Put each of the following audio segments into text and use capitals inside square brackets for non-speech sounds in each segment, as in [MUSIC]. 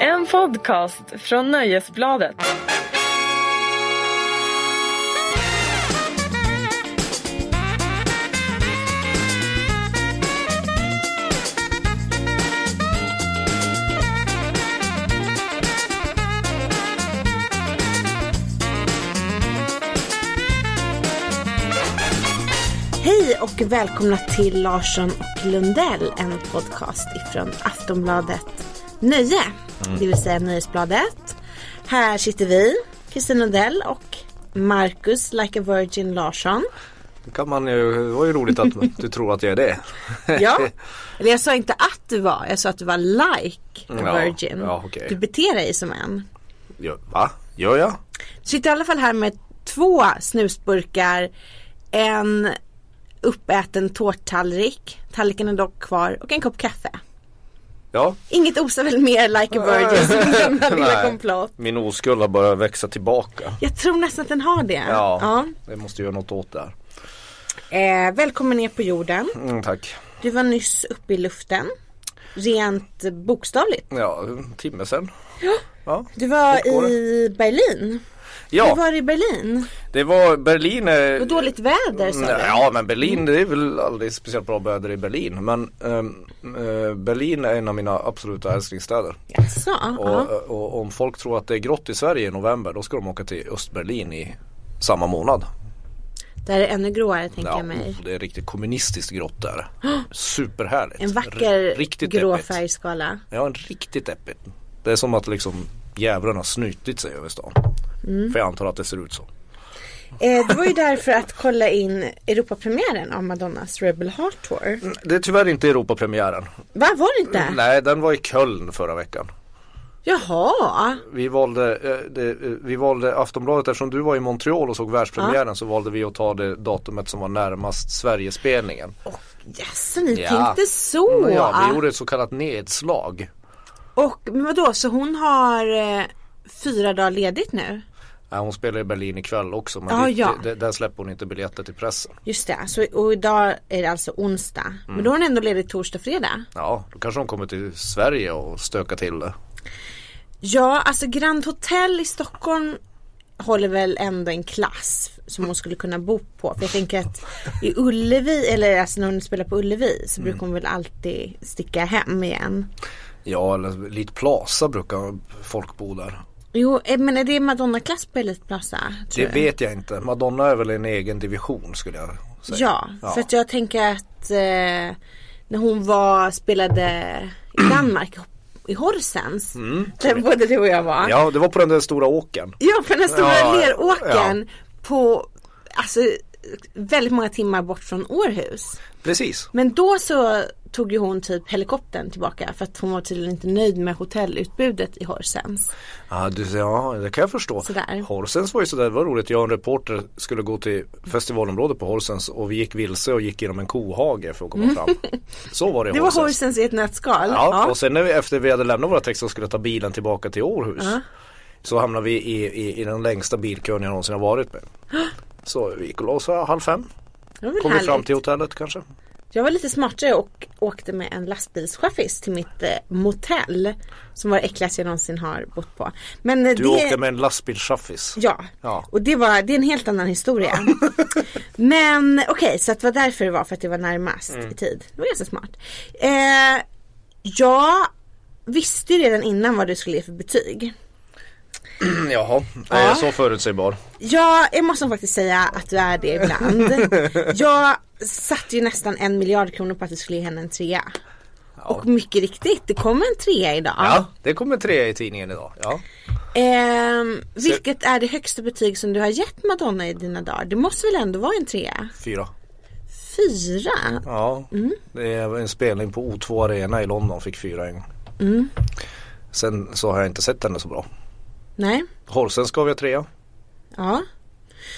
en podcast från Nöjesbladet. Hej och välkomna till Larsson och Lundell, en podcast ifrån Aftonbladet Nöje, Mm. det vill säga Nöjesbladet. Här sitter vi, Kristin Lundell och Marcus Like a Virgin Larsson. Då kan man ju, det var ju [LAUGHS] roligt att du tror att jag är det. Ja, eller jag sa inte att du var, jag sa att du var like a Ja, virgin. ja, okej. Du beter dig som en. [LAUGHS] Ja, va? Gör jag? Du sitter i alla fall här med två snusburkar, en uppäten tårttallrik, tallriken är dock kvar och en kopp kaffe. Ja. Inget osar väl mer like a virgin som gamla lilla Nej. komplott. Min oskuld har börjat växa tillbaka. Jag tror nästan att den har det. Ja, det måste göra något åt det här. Ja. Eh, välkommen ner på jorden. Mm, tack. Du var nyss uppe i luften. Rent bokstavligt. Ja, en timme sedan. Ja. Du var Fort går i Berlin. Du ja, var i Berlin. det var Berlin. eh, Mm, Det var dåligt väder sa du. Ja men Berlin det är väl aldrig speciellt bra väder i Berlin men ehm, eh, Berlin är en av mina absoluta älsklingsstäder. Jaså? Och, eh, ja. och om folk tror att det är grått i Sverige i november då ska de åka till Östberlin i samma månad. Det här är ännu gråare tänker jag mig. oh, det är riktigt kommunistiskt grått där. Superhärligt. En R- vacker riktigt grå deppigt. färgskala. Ja, en riktigt deppigt. Det är som att liksom djävulen har snytit sig över stan. Mm. För jag antar att det ser ut så. Eh, du var ju där för att kolla in Europapremiären av Madonnas Rebel Heart Tour. Det är tyvärr inte Europapremiären. Va, var det inte? Mm. Nej, den var i Köln förra veckan. Jaha. Vi valde, eh, det, eh, vi valde Aftonbladet, eftersom du var i Montreal och såg världspremiären så valde vi att ta det datumet som var närmast Sverigespelningen. Jaså, ni Ja. tänkte så? Ja, vi gjorde ett så kallat nedslag. Och men vadå, så hon har eh, fyra dagar ledigt nu? Ja, hon spelar i Berlin ikväll också men Ja, det, Ah, ja. Det, där släpper hon inte biljetter till pressen. Just det, så, och idag är det alltså onsdag. Men då har hon ändå ledigt torsdag, fredag. Ja, då kanske de kommer till Sverige och stökar till det. Ja, alltså Grand Hotel i Stockholm håller väl ändå en klass som hon skulle kunna bo på. För jag tänker att i Ullevi, eller alltså när hon spelar på Ullevi så brukar hon väl alltid sticka hem igen. Ja, eller lite Plaza brukar folk bo där. Jo, eh, men är det Madonna-klass på Elitplaza? tror Det du? vet jag inte. Madonna är väl en egen division skulle jag säga. Ja, för att jag tänker att eh, när hon var, spelade [CLEARS THROAT] i Danmark i Horsens. där både du och jag var. Mm. ja, det var på den där stora åken. Ja, på den stora Ja, leråkern på alltså, väldigt många timmar bort från Århus. Precis. Men då så tog ju hon typ helikoptern tillbaka för att hon var tydligen inte nöjd med hotellutbudet i Horsens. Ja, du, ja det kan jag förstå. Sådär. Horsens var ju sådär, det var roligt. Jag och en reporter skulle gå till festivalområdet på Horsens och vi gick vilse och gick genom en kohage för att komma fram. Så var det i Mm. [LAUGHS] Det var Horsens. Horsens i ett nötskal. Ja, och sen när vi, efter vi hade lämnat våra texter och skulle ta bilen tillbaka till Århus Så hamnade vi i, i, i den längsta bilkön jag någonsin har varit med Så vi gick och la oss här halv fem, det var väl kom vi fram härligt. till hotellet kanske Jag var lite smartare och åkte med en lastbilschaffis till mitt eh, motell. Som var det äckligaste jag någonsin har bott på. Men eh, Du det... åkte med en lastbilschaffis Ja. Ja. och det, var, det är en helt annan historia. [LAUGHS] Men okej, så att det var därför det var för att det var närmast Mm. i tid. Det var ganska smart. Eh, jag visste ju redan innan vad du skulle ge för betyg. [CLEARS THROAT] Jaha, Ja. ja. så förutsägbar Ja, jag måste nog faktiskt säga att du är det [LAUGHS] ibland. jag satte ju nästan en miljard kronor på att du skulle ge henne en trea. Och mycket riktigt, det kom en trea idag. Ja, det kommer tre i tidningen idag ja. Ehm, vilket är det högsta betyg som du har gett Madonna i dina dagar? Det måste väl ändå vara en trea? Fyra Fyra? Ja, Mm. det är en spelning på O2 Arena i London, fick fyra en gång Mm. Sen så har jag inte sett henne så bra Nej? Horsens gav jag trea Ja,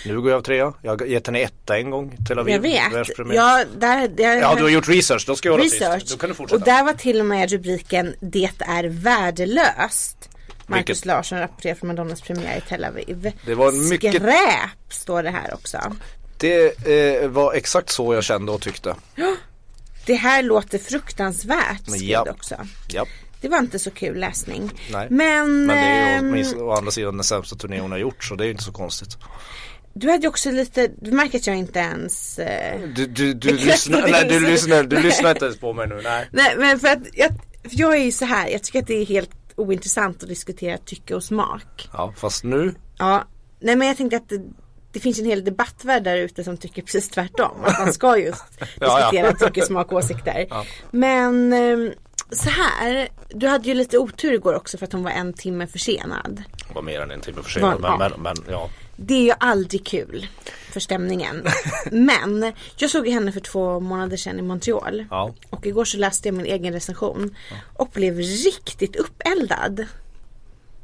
Nu går jag av trea. Jag har gett henne etta en gång. Tel Aviv. jag vet. världspremiär. Ja, Ja, där, där, du har gjort research. Då ska jag vara research. tyst. Då kan du och fortsätta. där var till och med rubriken Det är värdelöst. Marcus Vilket- Larsson rapporterar från Madonnas premiär i Tel Aviv. Det var en mycket- Skräp står det här också. Det eh, var exakt så jag kände och tyckte. Det här låter fruktansvärt skrev Ja. det också. Ja. Det var inte så kul läsning. Nej. Men, Men det är ju ehm, åtminstone, å andra sidan den sämsta turnén hon har gjort så det är ju inte så konstigt. du hade ju också lite, du märker att jag inte ens eh, Du, du, du, Jag lyssnar- lyssnar, klättrar- nej, du, lyssnar, du Nej. lyssnar inte ens på mig nu. Nej. Nej men för att jag, för jag är ju så här, jag tycker att det är helt ointressant att diskutera tycke och smak. Ja, fast nu. Ja, nej men jag tänkte att det, det finns en hel debattvärld där ute som tycker precis tvärtom. Att man ska just [LAUGHS] Ja, ja. diskutera tycke, smak och åsikter. Ja. Men ehm, så här, du hade ju lite otur igår också för att hon var en timme försenad. Det var mer än en timme Var- försenad men, ja. men, men ja. Det är ju aldrig kul för [LAUGHS] stämningen. Men jag såg ju henne för två månader sedan i Montreal. Ja. Och igår så läste jag min egen recension. Och blev riktigt uppeldad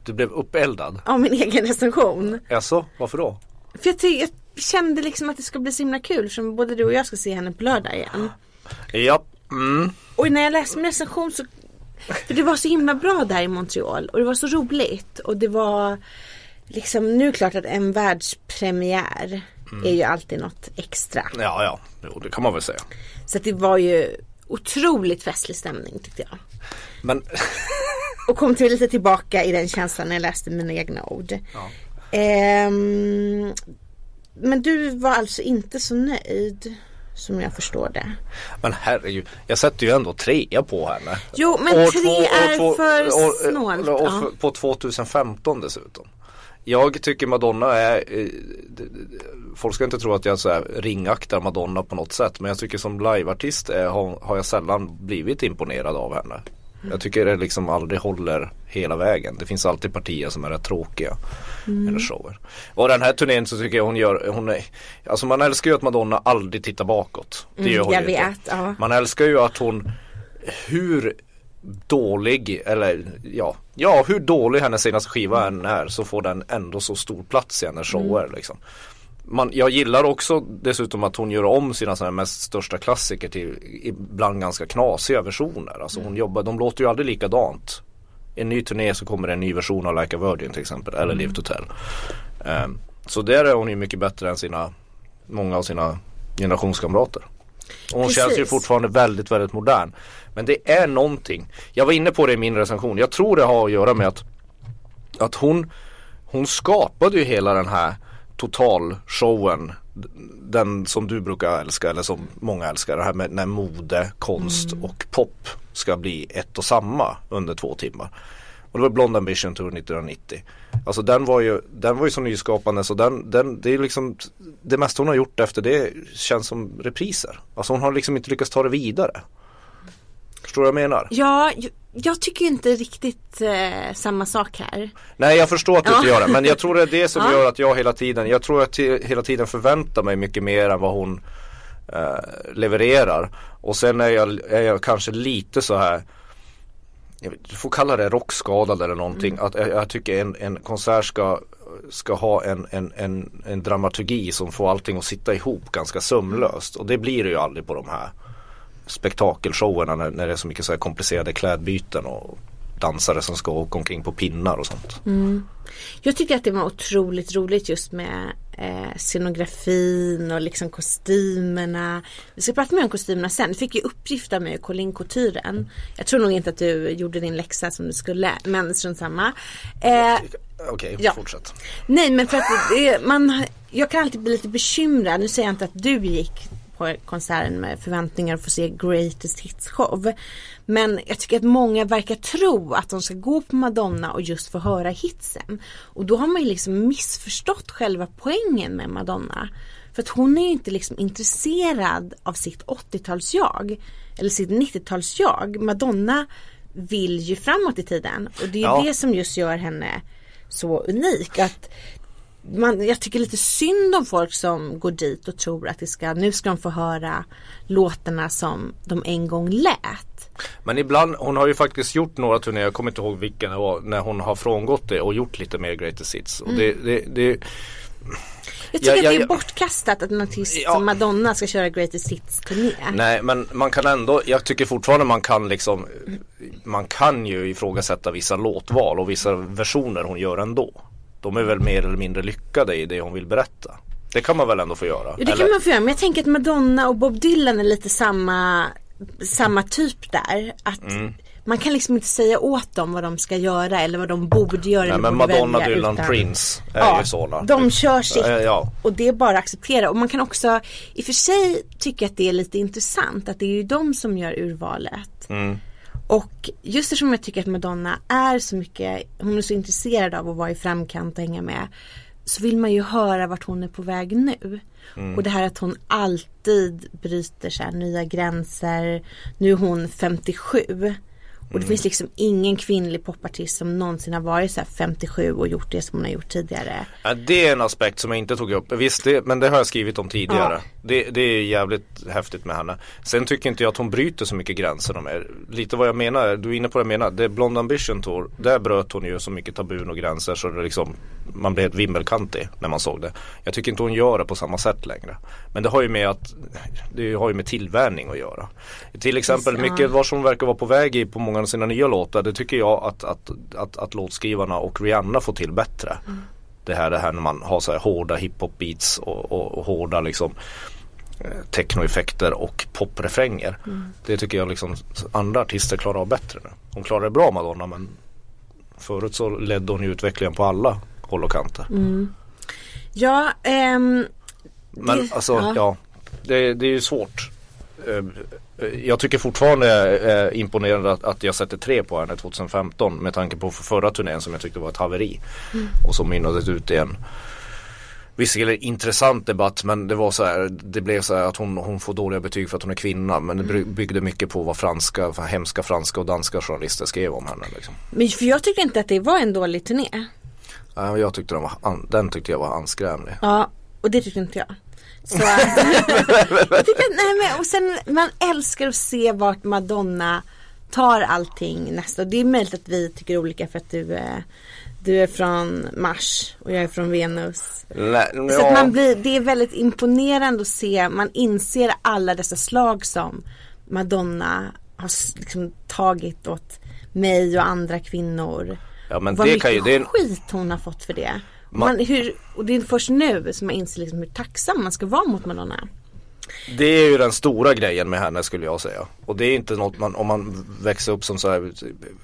Du blev uppeldad. av min egen recension. Jaså, varför då? För jag, ty- jag kände liksom att det ska bli så himla kul som både du och jag ska se henne på lördag igen. Ja, mm. Och när jag läste min recension så För det var så himla bra där i Montreal och det var så roligt och det var Liksom nu är det klart att en världspremiär är ju alltid något extra. ja, ja, jo, det kan man väl säga. Så att det var ju otroligt festlig stämning tyckte jag. Men [LAUGHS] Och kom till lite tillbaka i den känslan när jag läste mina egna ord. ja. Ehm, men du var alltså inte så nöjd som jag förstår det. Men herregud, jag sätter ju ändå trea på henne. Jo men År tre två- år är två- för år- snålt. Och ja. för, på 2015 dessutom. Jag tycker Madonna är, eh, d- d- folk ska inte tro att jag så här ringaktar Madonna på något sätt men jag tycker som liveartist är, har, har jag sällan blivit imponerad av henne. Jag tycker det liksom aldrig håller hela vägen. Det finns alltid partier som är rätt tråkiga. Mm. Eller shower. Och den här turnén så tycker jag hon gör, hon är, alltså man älskar ju att Madonna aldrig tittar bakåt. Det gör hon Mm, jag ju vet, inte. ja. Man älskar ju att hon hur dålig eller ja, ja hur dålig hennes senaste skiva än är så får den ändå så stor plats i hennes shower liksom. Man, jag gillar också dessutom att hon gör om sina såna här mest största klassiker till ibland ganska knasiga versioner. Alltså hon jobbar, de låter ju aldrig likadant. I en ny turné så kommer det en ny version av Like a Virgin till exempel eller Live to Tell. Ehm, så där är hon ju mycket bättre än sina, många av sina generationskamrater. Och hon känns ju Precis. fortfarande väldigt, väldigt modern. Men det är någonting. Jag var inne på det i min recension. Jag tror det har att göra med att, att hon, hon skapade ju hela den här totalshowen. D- Den som du brukar älska eller som många älskar. Det här med när mode, konst och pop ska bli ett och samma under två timmar. Och det var Blonde Ambition Tour 1990. Alltså den var ju, den var ju så nyskapande så den, den, det är liksom Det mesta hon har gjort efter det känns som repriser. Alltså hon har liksom inte lyckats ta det vidare. Förstår du vad jag menar? Ja, jag, jag tycker ju inte riktigt eh, samma sak här. Nej jag förstår att du inte Ja. gör det men jag tror det är det som Ja. gör att jag hela tiden Jag tror att jag hela tiden förväntar mig mycket mer än vad hon eh, levererar Och sen är jag, är jag kanske lite så här jag vet, Du får kalla det rockskadad eller någonting Mm. att jag, jag tycker en, en konsert ska Ska ha en, en, en, en dramaturgi som får allting att sitta ihop ganska sömlöst och det blir det ju aldrig på de här spektakelshowerna när, när det är så mycket så här komplicerade klädbyten och dansare som ska åka omkring på pinnar och sånt. Jag tyckte att det var otroligt roligt just med eh, scenografin och liksom kostymerna. Vi ska prata mer om kostymerna sen. Du fick ju uppgift av mig att kolla in couturen. Jag tror nog inte att du gjorde din läxa som du skulle, men strunt samma. Eh, Okej, Ja. fortsätt. nej, men för att det, man, jag kan alltid bli lite bekymrad. Nu säger jag inte att du gick på konserten med förväntningar att få se Greatest Hits show. Men jag tycker att många verkar tro att de ska gå på Madonna och just få höra hitsen. Och då har man ju liksom missförstått själva poängen med Madonna. För att hon är ju inte liksom intresserad av sitt 80-tals-jag. Eller sitt 90-tals-jag. Madonna vill ju framåt i tiden. Och det är ju Ja. det som just gör henne så unik. Att man, jag tycker lite synd om folk som går dit och tror att det ska, nu ska de få höra låtarna som de en gång lät. Men ibland, hon har ju faktiskt gjort några turnéer, jag kommer inte ihåg vilken det var, när hon har frångått det och gjort lite mer greatest hits. Och det, Mm. det, det, Jag tycker Ja, ja, att det är ja. bortkastat att en artist Ja. som Madonna ska köra Greatest Hits turné. nej men man kan ändå, jag tycker fortfarande man kan liksom Man kan ju ifrågasätta vissa låtval och vissa versioner hon gör ändå. De är väl mer eller mindre lyckade i det hon vill berätta. Det kan man väl ändå få göra? Jo, det kan eller? man få göra men jag tänker Mm. att Madonna och Bob Dylan är lite samma, samma typ där. Att man kan liksom inte säga åt dem vad de ska göra eller vad de borde göra. Nej, eller men borde Madonna, välja, Dylan, utan- Prince är Ja, ju sådana. De kör sitt Ja, ja. och det är bara att acceptera. Och man kan också i och för sig tycka att det är lite intressant att det är ju de som gör urvalet. Och just eftersom jag tycker att Madonna är så mycket, hon är så intresserad av att vara i framkant och hänga med. Så vill man ju höra vart hon är på väg nu. Och det här att hon alltid bryter så här nya gränser. Nu är hon 57. Och det finns liksom ingen kvinnlig popartist som någonsin har varit så här 57 och gjort det som hon har gjort tidigare. Ja, det är en aspekt som jag inte tog upp. Visst, det, men det har jag skrivit om tidigare. Ja. Det, det är jävligt häftigt med henne. Sen tycker inte jag att hon bryter så mycket gränser om er. Lite vad jag menar, du är inne på det jag menar. Det är Blonde Ambition Tour, där bröt hon ju så mycket tabun och gränser så det liksom man blev helt vimmelkantig när man såg det. Jag tycker inte hon gör det på samma sätt längre. Men det har ju med att det har ju med tillvänjning att göra. Till exempel ja. mycket vart som verkar vara på väg i på många av sina nya låtar. Det tycker jag att, att, att, att, låtskrivarna och Rihanna får till bättre Mm. det här, det här när man har så här hårda hiphop-beats och, och, och hårda liksom eh, technoeffekter och poprefränger. Det tycker jag liksom s- andra artister klarar av bättre nu. Hon klarar det bra Madonna men förut så ledde hon ju utvecklingen på alla håll och kanter. Ja, ehm, Men Det- alltså ja. ja, det, det är ju svårt. Eh, eh, Jag tycker fortfarande eh, imponerande att, att jag sätter tre på henne 2015 med tanke på förra turnén som jag tyckte var ett haveri. Mm. Och som mynnade ut i en visserligen intressant debatt men det var så här, det blev så här att hon, hon får dåliga betyg för att hon är kvinna men det Mm. bry- byggde mycket på vad franska, vad hemska franska och danska journalister skrev om henne. Liksom. men för jag tyckte inte att det var en dålig turné. Ja, men Jag tyckte den, var, an- den tyckte jag var anskrämlig. Ja, och det tyckte inte jag. Så, jag tyckte, nej men, och sen, man älskar att se vart Madonna tar allting nästa. Det är möjligt att vi tycker olika för att du, eh, du är från Mars och jag är från Venus. Nej, Så ja. att man blir, det är väldigt imponerande att se, man inser alla dessa slag som Madonna har s- liksom tagit åt mig och andra kvinnor. Ja, men Vad det mycket kan ju- det är- skit hon har fått för det. Man, hur, och det är först nu som man inser liksom hur tacksam man ska vara mot Madonna. Det är ju den stora grejen med henne skulle jag säga. Och det är inte något man, om man växer upp som så här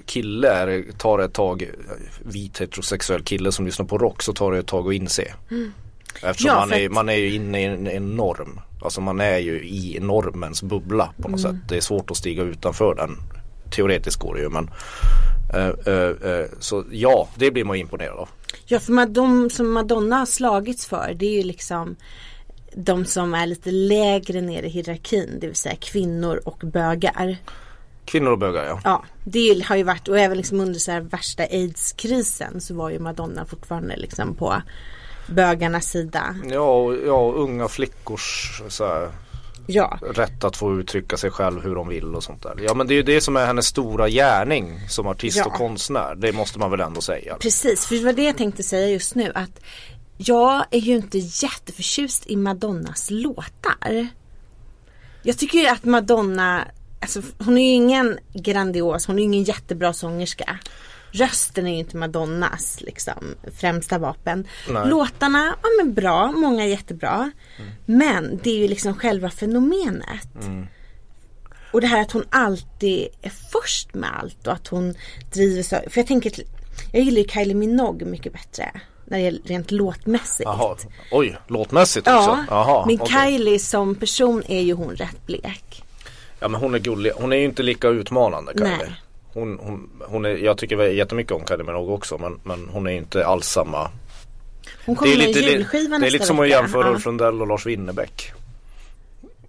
kille, är, det- tar det ett tag, vit heterosexuell kille som lyssnar på rock så tar det ett tag att inse. Eftersom Ja, man, för är, att- man är ju inne i en, en norm. Alltså man är ju i normens bubbla på något sätt. Det är svårt att stiga utanför den. Teoretiskt går det ju men eh, eh, eh, så ja, det blir man ju imponerad av. Ja för Mad- de som Madonna har slagits för det är ju liksom de som är lite lägre ner i hierarkin, det vill säga kvinnor och bögar. Kvinnor och bögar ja. Ja, det har ju varit och även liksom under så här värsta aidskrisen så var ju Madonna fortfarande liksom på bögarnas sida. Ja, och, ja och unga flickors så här, Ja, rätt att få uttrycka sig själv hur de vill och sånt där. Ja men det är ju det som är hennes stora gärning som artist Ja. och konstnär. Det måste man väl ändå säga. precis. För det var det jag tänkte säga just nu att jag är ju inte jätteförtjust i Madonnas låtar. Jag tycker ju att Madonna, alltså hon är ju ingen grandios, hon är ju ingen jättebra sångerska. Rösten är ju inte Madonnas liksom, främsta vapen. Nej. Låtarna, ja men bra, många är jättebra. Men det är ju liksom själva fenomenet. Och det här att hon alltid är först med allt och att hon driver så. För jag tänker, till- jag gillar ju Kylie Minogue mycket bättre. När det gäller rent låtmässigt. Jaha, oj, låtmässigt Ja, också. Jaha, men okej. Kylie som person är ju hon rätt blek. Ja men hon är gullig, hon är ju inte lika utmanande Kylie. Nej. Hon, hon, hon är, jag tycker väl jättemycket om Kylie Minogue också men, men hon är ju inte alls samma. Hon kommer med en det, julskiva det är nästa lite som att vecka. jämföra Ja. Ulf Lundell och Lars Winnerbäck.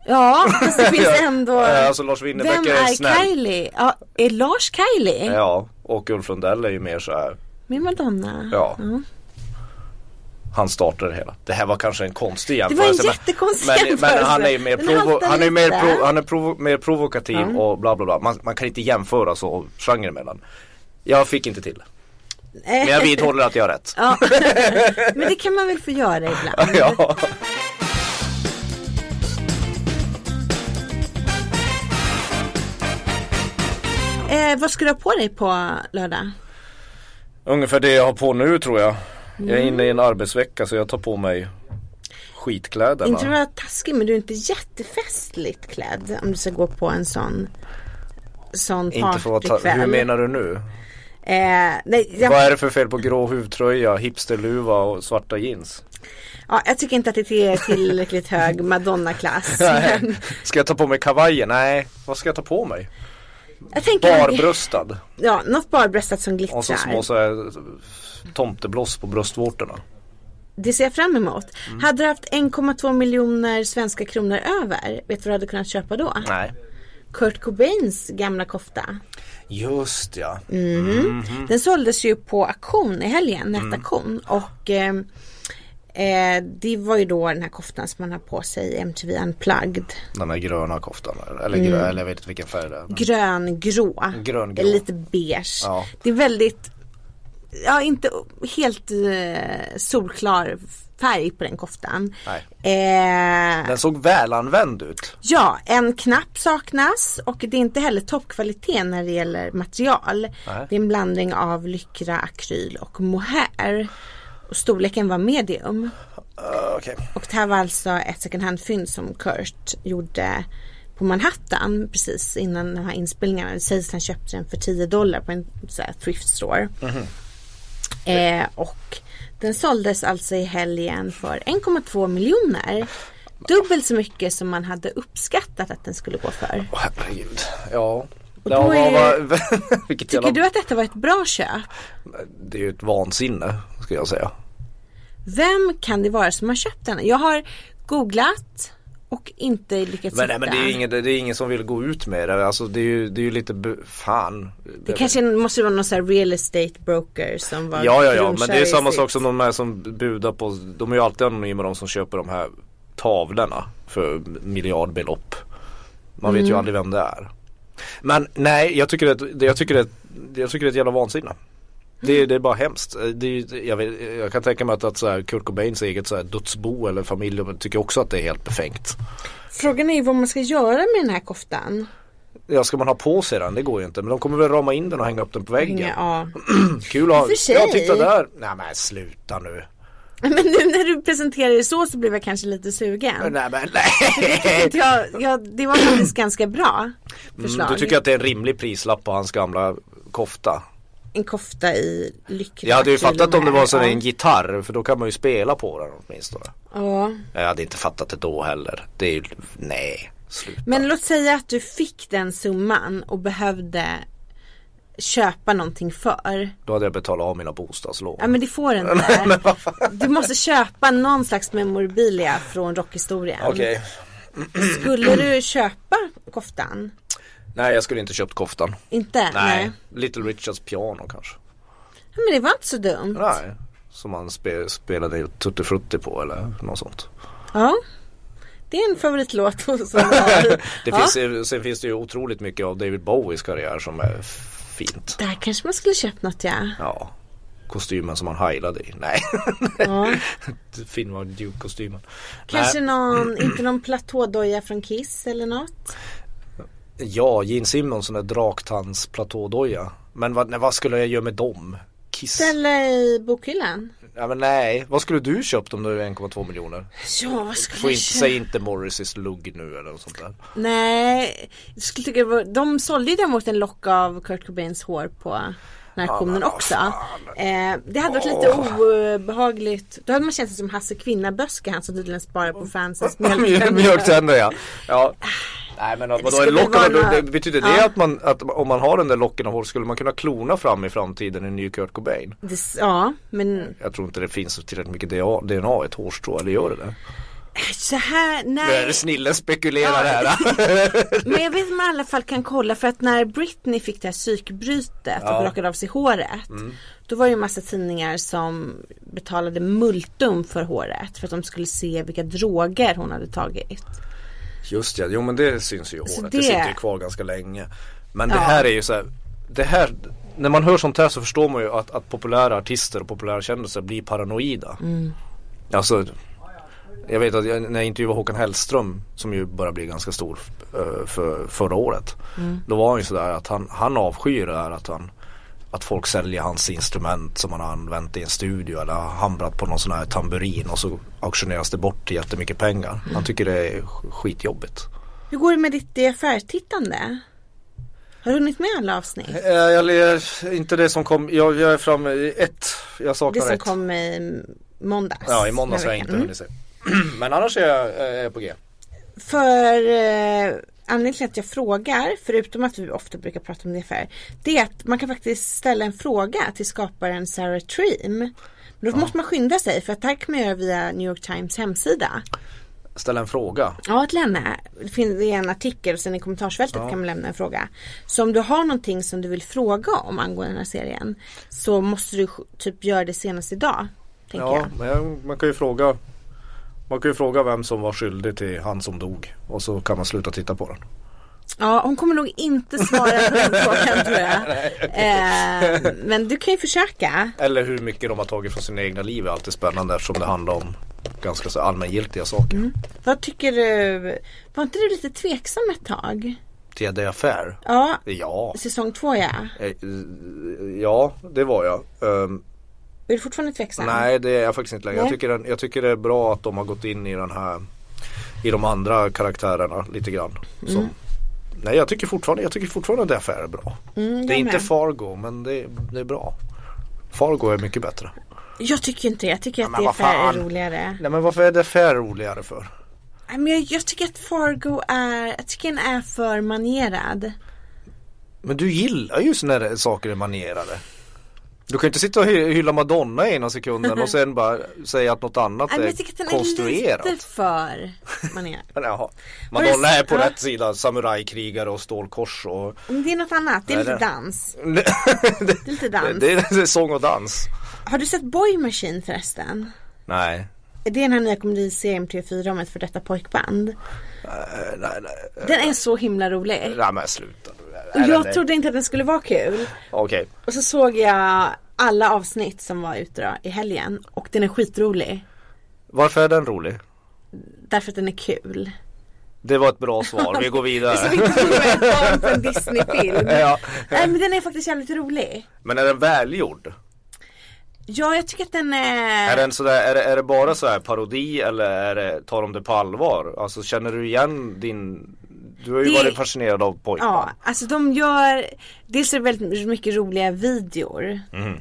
Ja, fast [LAUGHS] det finns ändå. Eh, alltså, Lars Winnerbäck Vem är är snäll. Kylie? Ja, är Lars Kylie? Ja, och Ulf Lundell är ju mer så här Med Madonna? Ja. Mm. han startade det hela. Det här var kanske en konstig Det var en jämförelse. jättekonstig men, jämförelse. men han är ju mer, Den provo- haltar han är ju mer, lite. provo- han är provo- mer provokativ och bla bla bla. Man, man kan inte jämföra så genrer emellan. Jag fick inte till det. Men jag vidhåller att jag har rätt. Ja. Men det kan man väl få göra ibland. [LAUGHS] ja. Eh, vad ska du ha på dig på lördag? Ungefär det jag har på nu tror jag. Jag är inne i en Mm. arbetsvecka så jag tar på mig skitkläderna. Inte för att vara taskig men du är inte jättefestligt klädd om du ska gå på en sån sån Inte för att ta, hur partykväll. menar du nu? Eh, nej, jag, Vad är det för fel på grå huvtröja, hipsterluva och [LAUGHS] svarta jeans? ja, jag tycker inte att det är tillräckligt hög Madonna-klass. [LAUGHS] Nej. Men Ska jag ta på mig kavajen? Nej, vad ska jag ta på mig? jag tänker Barbröstad ja, något barbröstat som och så glittrar. små så här, tomtebloss på bröstvårtorna. Det ser jag fram emot. Mm. Hade du haft 1,2 miljoner svenska kronor över, vet du vad du hade kunnat köpa då? Nej. Kurt Cobains gamla kofta. Just ja. Mm. Mm. Den såldes ju på auktion i helgen, nätauktion. Och eh, eh, det var ju då den här koftan som man har på sig i MTV Unplugged. Den här gröna koftan eller grön, Mm. eller jag vet inte vilken färg det är. men- Gröngrå. Gröngrå. Lite beige. Ja. Det är väldigt, ja inte helt eh, solklar färg på den koftan. Nej. Eh, Den såg välanvänd ut. Ja, en knapp saknas och det är inte heller toppkvalitet när det gäller material. Nej. Det är en blandning av lycra, akryl och mohair. Och storleken var medium. Uh, Okej. Och det här var alltså ett second hand-fynd som Kurt gjorde på Manhattan precis innan de här inspelningarna. Det sägs att han köpte den för 10 dollar på en så här, thrift store. Mhm. Eh, och den såldes alltså i helgen för 1,2 miljoner. Dubbelt så mycket som man hade uppskattat att den skulle gå för. Åh, herregud. Ja. Och ja då vad, är- vad, [LAUGHS] vilket Tycker jävla... du att detta var ett bra köp? Det är ju ett vansinne ska jag säga. Vem kan det vara som har köpt den? Jag har googlat och inte lyckats Men, nej, men det är ju hitta. ingen, det är ingen som vill gå ut med det. Alltså det är ju, det är ju lite, bu- fan. Det kanske måste vara någon sån här real estate broker som var Ja, ja, ja, men grundkörare det är i samma sitt- sak som de här som budar på, de är ju alltid anonyma de som köper de här tavlorna för miljardbelopp. Man Mm. vet ju aldrig vem det är. Men nej, jag tycker det, det, jag tycker det, jag tycker det är ett jävla vansinne. Mm. Det, det är bara hemskt. Det är, ju- jag, vet, jag kan tänka mig att, att så här Kurt Cobains eget så här dödsbo eller familj de tycker också att det är helt befängt. Frågan är ju vad man ska göra med den här koftan. Ja, ska man ha på sig den? Det går ju inte. Men de kommer väl rama in den och hänga upp den på väggen. Hänga, ja. [LAUGHS] Kul att ha. för sig. Ja, titta där. Nej men sluta nu. Men nu när du presenterar det så så blev jag kanske lite sugen. Nej men nej. Jag, jag, det var faktiskt ganska bra förslag. Mm, du tycker att det är en rimlig prislapp på hans gamla kofta? En kofta i lyckra Jag hade ju kul fattat om det med- var så en ja. gitarr för då kan man ju spela på den åtminstone. ja. Jag hade inte fattat det då heller. Det är ju, nej, sluta. Men låt säga att du fick den summan och behövde köpa någonting för. Då hade jag betalat av mina bostadslån. Ja men det får du [LAUGHS] inte. Du måste köpa någon slags memorabilia från rockhistorien. Okej, Skulle du köpa koftan? nej jag skulle inte köpt koftan. Inte? Nej. Little Richards piano kanske. Ja, Men det var inte så dumt. Nej, som han spe, spelade Tutti Frutti på eller något sånt. Ja. Det är en favoritlåt [LAUGHS] hos honom. Ja. [LAUGHS] Det finns, ju- Sen finns det ju otroligt mycket av David Bowies karriär som är fint. Där kanske man skulle köpt något ja. Ja, kostymen som han hajlade i. Nej, [LAUGHS] ja. Finvar Duke-kostymen. Kanske någon, [CLEARS THROAT] inte någon platådoja från Kiss eller något. Nej, ja, Gene Simmons sån där draktandsplatådoja. Men vad, nej, vad skulle jag göra med dem? Kiss? Ställa i bokhyllan. Ja, men nej, vad skulle du köpt om du är 1,2 miljoner? Ja, vad skulle Få jag inte, köpa? säg inte Morrissey's lugg nu eller något sånt där. Nej, jag skulle tycka det var, de sålde ju däremot en lock av Kurt Cobains hår på den här auktionen också. Eh, det hade varit lite obehagligt. Då hade man känt sig som Hasse Kvinnaböske, han som tydligen sparar på [LAUGHS] fansens Mm. [LAUGHS] mjölk. Ah. Mjölktänder ja. ja. Nej men vadå, skulle en lock av, vara- det betyder det att, man, att om man har den där locken av hår skulle man kunna klona fram i framtiden en ny Kurt Cobain? Det s- Ja, men Jag tror inte det finns tillräckligt mycket DNA i ett hårstrå, eller gör det det? så här, Nu är nej. [LAUGHS] det snillen spekulerar här. [LAUGHS] Men jag vet att man i alla fall kan kolla för att när Britney fick det här psykbrytet och rakade av sig håret. Då var det ju massa tidningar som betalade multum för håret. För att de skulle se vilka droger hon hade tagit. Just ja, jo men det syns ju i Så håret. Det... det- sitter ju kvar ganska länge. Men det här är ju så här, det här, när man hör sånt här så förstår man ju att, att populära artister och populära kändisar blir paranoida. Alltså, jag vet att jag, när jag intervjuade Håkan Hellström som ju börjar bli ganska stor eh, för, förra året. Mm. Då var han ju sådär att han, han avskyr det här att han att folk säljer hans instrument som han har använt i en studio eller har hamrat på någon sån här tamburin och så auktioneras det bort till jättemycket pengar. Mm. Han tycker det är sk- skitjobbigt. Hur går det med ditt affärstittande? Har du hunnit med alla avsnitt? Eh, Jag, le- inte det som kom, jag, jag är framme i ett, jag Det saknar som ett. kom i måndags. Ja i måndags har förra jag inte veckan. hunnit se. Mm. [CLEARS THROAT] Men annars är jag eh, på G. För eh, anledningen till att jag frågar, förutom att vi ofta brukar prata om det för, det är att man kan faktiskt ställa en fråga till skaparen Sarah Treem. Men då måste man skynda sig för att det här kan man göra via New York Times hemsida. Ställa en fråga. Ja, att lämna. Det finns det är en artikel och sen i kommentarsfältet kan man lämna en fråga. Så om du har någonting som du vill fråga om angående den här serien så måste du sk- typ göra det senast idag. Tänker Ja, jag. men jag, man kan ju fråga man kan ju fråga vem som var skyldig till han som dog och så kan man sluta titta på den. Ja, hon kommer nog inte svara på den frågan tror jag. [LAUGHS] Eh, men du kan ju försöka. Eller hur mycket de har tagit från sina egna liv är alltid spännande eftersom det handlar om ganska så allmängiltiga saker. Vad tycker du? Var inte du lite tveksam ett tag? TD Affär? Ja, Ja. säsong två ja. Eh, Ja, det var jag. Ehm, Är du fortfarande tveksam? nej, det är jag faktiskt inte längre. Jag Nej. tycker, den, jag tycker det är bra att de har gått in i den här i de andra karaktärerna lite grann. Som, nej, jag tycker fortfarande, jag tycker fortfarande att det affär är bra. Mm, det är jag inte med. Fargo, men det, det är bra. Fargo är mycket bättre. Jag tycker inte det. Jag tycker att men det vad är fan. roligare. Nej, men varför är det affär roligare för? Nej, Men jag, jag tycker att Fargo är, jag tycker den är för manierad. Men du gillar ju när det- saker är manierade. Du kan ju inte sitta och hy- hylla Madonna i ena sekunden och sen bara säga att något [LAUGHS] annat Nej, men jag tycker att är den konstruerat. är lite för manierad. Jaha. Har du Madonna sett- är på ja. rätt sida, samurajkrigare och stålkors och Men det är något annat. Det är Nej, lite det- dans. det, Det är lite dans. det är sång och dans. Har du sett Boy Machine förresten? Nej. Det är den här nya komediserien på TV4 om ett för detta pojkband. Eh, nej, nej, Den är så himla rolig. nej men sluta nu. Och Är den jag det? trodde inte att den skulle vara kul. Okej, Och så såg jag alla avsnitt som var ute då, i helgen och den är skitrolig. varför är den rolig? Därför att den är kul. Det var ett bra svar, [LAUGHS] vi går Det är som vidare. inte tror jag är ett barn på en Disney-film. [LAUGHS] ja. Nej men den är faktiskt jävligt rolig. Men är den välgjord? Ja jag tycker att den är... Är, den sådär, är, det, är det bara så här parodi eller är det, tar de det på allvar? Alltså känner du igen din Du har ju Det- varit fascinerad av pojkband Ja, alltså de gör, dels är det väldigt mycket roliga videor. Mhm.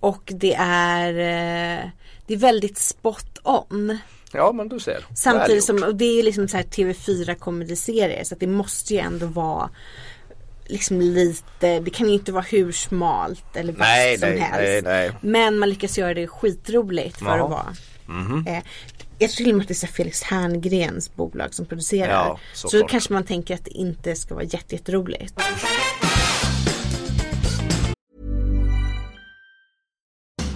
Och det är, eh, det är väldigt spot on. Ja men du ser Samtidigt Välgjort. som, och det är ju liksom så här TV4 komediserier så att det måste ju ändå vara liksom lite, det kan ju inte vara hur smalt eller vasst Nej, som nej, helst. nej, nej. Men man lyckas göra det skitroligt för Jaha. att vara. Mhm. Eh, jag tror till och med att det är så här Felix Herngrens bolag som producerar. Ja, så såklart. kanske man tänker att det inte ska vara jätte, jätteroligt.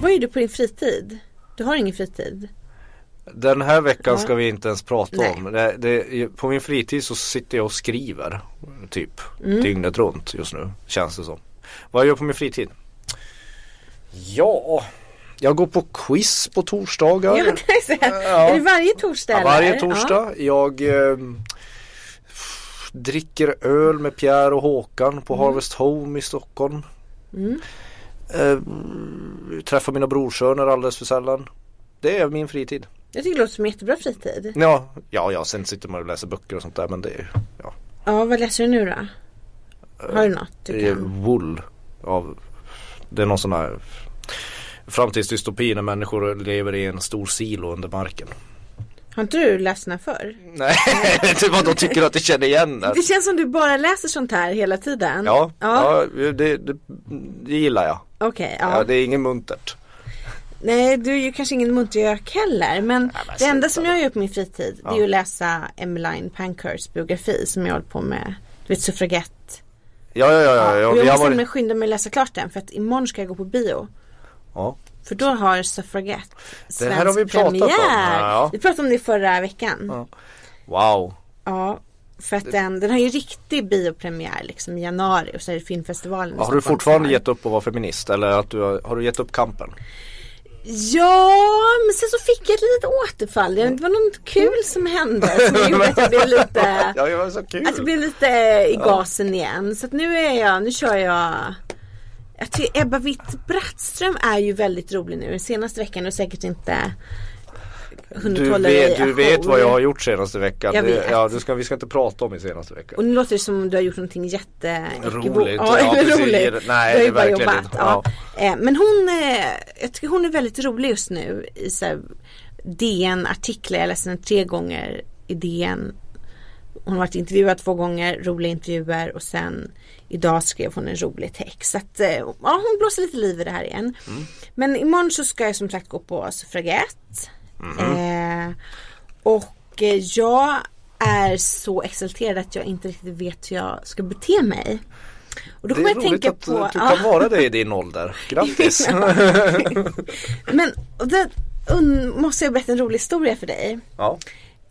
Vad gör du på din fritid? Du har ingen fritid. Den här veckan ska vi inte ens prata Nej. om. Det, det, på min fritid så sitter jag och skriver typ Mm. dygnet runt just nu känns det som. Vad jag gör på min fritid? Ja, jag går på quiz på torsdagar. Ja, det är, så här. är det varje torsdag Ja, varje eller? torsdag. Jag eh, dricker öl med Pierre och Håkan Mm. på Harvest Home i Stockholm. Eh, träffar mina brorsöner alldeles för sällan. Det är min fritid. Jag tycker det låter som en jättebra fritid. Ja, ja, ja sen sitter man och läser böcker och sånt där men det är ja, Ja, vad läser du nu då? Har Eh, du något du det är kan? wool av Det är någon sån här framtidsdystopi när människor lever i en stor silo under marken. Har inte du läst den här förr? Nej, [LAUGHS] det var de tycker att de känner igen det. Det känns som du bara läser sånt här hela tiden. Ja, ja. ja. det, det, det gillar jag. Okej, ja. Ja. det är inget muntert. Nej, du är ju kanske ingen muntergök heller. Men men det enda sluta som jag gör på min fritid det är ju att läsa Emmeline Pankhursts biografi som jag håller på med. Du vet suffragett. Ja, ja, ja. ja, och ja, jag vi måste har varit... varit... skynda mig att läsa klart den för att imorgon ska jag gå på bio. ja. För då har Suffragette Det här har svensk vi pratat om, premiär. ja. Vi pratade om det förra veckan. Ja. Wow. för att den, den har ju riktig biopremiär liksom i januari och så är det filmfestivalen i Har du Stockholm fortfarande kvar. gett upp att vara feminist eller att du har, har du gett upp kampen? Ja, men sen så fick jag ett litet återfall. Det var något kul som hände som [LAUGHS] gjorde att jag blev lite Ja, det var så kul. Att jag blev lite i gasen igen. Så att nu är jag, nu kör jag jag tycker Ebba Witt-Brattström är ju väldigt rolig nu. Den senaste veckan och säkert inte hunnit du hålla dig vet, du ajour. vet vad jag har gjort senaste veckan. Oh, Jag Det- vet. Ja, du ska, vi ska inte prata om i senaste veckan. Och nu låter det som om du har gjort någonting jätte... Roligt. Ja, [LAUGHS] Ja, eller precis. roligt. Nej, du har det ju är bara verkligen jobbat. inte. Ja. Eh, Men hon, eh, jag tycker hon är väldigt rolig just nu i så här DN-artiklar. Jag läste den tre gånger i DN. Hon har varit intervjuad två gånger, roliga intervjuer och sen idag skrev hon en rolig text. Så att, eh, ja, hon blåser lite liv i det här igen. Mm. Men imorgon så ska jag som sagt gå på suffragett. Mm. Eh, och eh, jag är så exalterad att jag inte riktigt vet hur jag ska bete mig. Och då Det är kommer jag roligt tänka att eh, på... Ah. du ja. kan vara det i [LAUGHS] din ålder. Grattis. Men och det, un, måste jag berätta en rolig historia för dig. [LAUGHS] ja,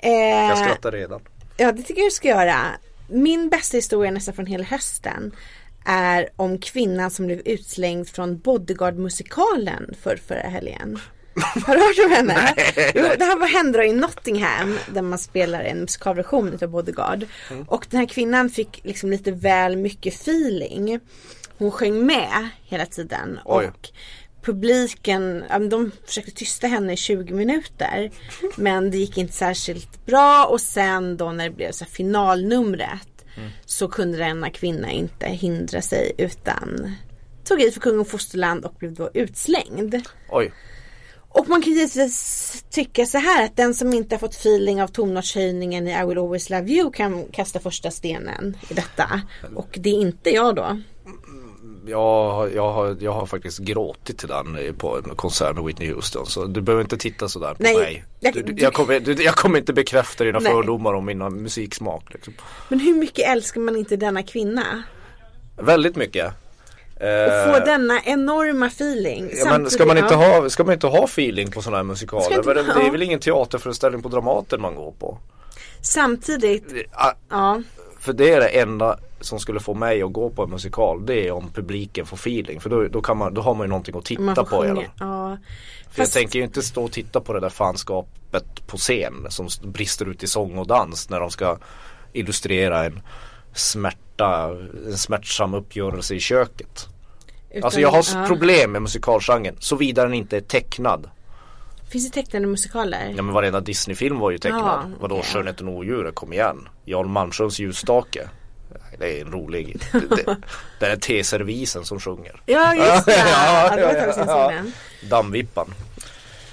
Eh, jag skrattar redan. Ja, det tycker jag du ska göra. Min bästa historia nästan från hela hösten är om kvinnan som blev utslängd från Bodyguard-musikalen för förra helgen. Har du hört om henne? Jo, det här var hände då i Nottingham där man spelar en musikalversion utav Bodyguard. Och den här kvinnan fick liksom lite väl mycket feeling. Hon sjöng med hela tiden Oj. och publiken, ja, men de försökte tysta henne i 20 minuter. Men det gick inte särskilt bra och sen då när det blev så här finalnumret så kunde denna kvinna inte hindra sig utan tog i för kung och fosterland och blev då utslängd. Oj. Och man kan givetvis tycka så här att den som inte har fått feeling av tonartshöjningen i I will always love you kan kasta första stenen i detta. Och det är inte jag då. Jag, har- jag, har, jag har faktiskt gråtit till den eh, på en konsert med Whitney Houston. Så du behöver inte titta sådär på Nej, mig. jag- Du, du, jag, kommer, du, jag kommer inte bekräfta dina Nej. fördomar om mina musiksmak. Liksom. Men hur mycket älskar man inte denna kvinna? Väldigt mycket. Och Eh, få denna enorma feeling. Ja, men ska, samtidigt- man inte ja. ha, ska man inte ha feeling på sådana här Ska musikaler? inte Men det, man- det ja. är väl ingen teaterföreställning på Dramaten man går på? Samtidigt, Ah, ja. För det är det enda som skulle få mig att gå på en musikal Det är om publiken får feeling För då, då, kan man, då har man ju någonting att titta Man får på. i alla sjunga. fall. Ja. För jag Fast, tänker ju inte stå och titta på det där fanskapet på scen som s- brister ut i sång och dans när de ska illustrera en smärta, en smärtsam uppgörelse i köket. utan- Alltså jag har s- ja. problem med musikalgenren såvida den inte är tecknad. Finns det tecknade musikaler? Ja men varenda Disney-film var ju tecknad. Ja, Vadå okej. Skönheten och odjuret, kom igen. Jarl Malmsjöns ljusstake. Nej, Det är en rolig. [LAUGHS] det- det- Den är teservisen som sjunger. Ja, just [LAUGHS] det. Ja, ja, det var ett ja, tag sedan jag ja. såg den. Dammvippan.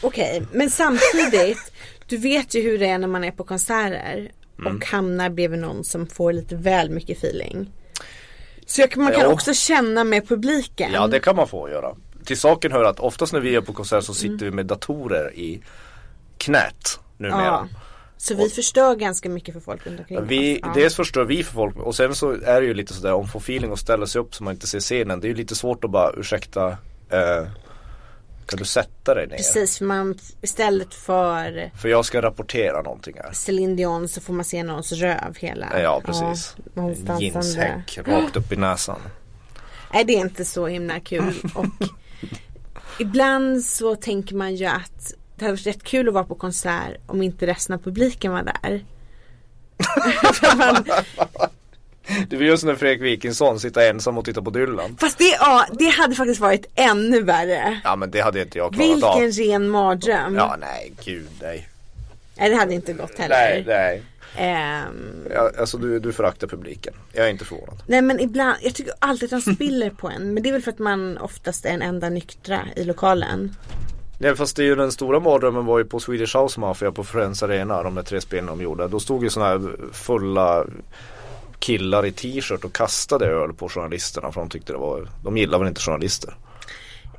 Okej, men samtidigt. Du vet ju hur det är när man är på konserter. Mm. Och hamnar bredvid någon som får lite väl mycket feeling. Så jag, man kan Ja. också känna med publiken. Ja det kan man få göra. Till saken hör att oftast när vi är på konsert så sitter Mm. vi med datorer i knät numera. Ja. Så vi förstör ganska mycket för folk runt omkring Vi, oss. Ja. Dels förstör vi för folk och sen så är det ju lite sådär om få feeling och ställa sig upp så man inte ser scenen. Det är ju lite svårt att bara ursäkta eh, kan du sätta dig ner? Precis, för man istället för För jag ska rapportera någonting här. Céline Dion så får man se någons röv hela. Ja, precis. Ja, hon dansande. Jeanshäck rakt upp i näsan. Nej det är inte så himla kul [LAUGHS] och ibland så tänker man ju att det hade varit rätt kul att vara på konsert om inte resten av publiken var där. Det var just när Fredrik Wikingsson sitter ensam och tittar på Dylan. Fast det, ja, det hade faktiskt varit ännu värre. Ja men det hade inte jag klarat av. Vilken ren mardröm. Ja nej gud nej. Nej det hade inte gått heller. Nej nej. Ehm, Ja, alltså du, du föraktar publiken. Jag är inte förvånad. nej men ibland, jag tycker alltid att de spiller på en. Men det är väl för att man oftast är den enda nyktra i lokalen. Nej fast det är ju den stora mardrömmen var ju på Swedish House Mafia på Friends Arena. De där tre spelen de gjorde. Då stod ju sådana här fulla killar i t-shirt och kastade öl på journalisterna för de tyckte det var, de gillar väl inte journalister.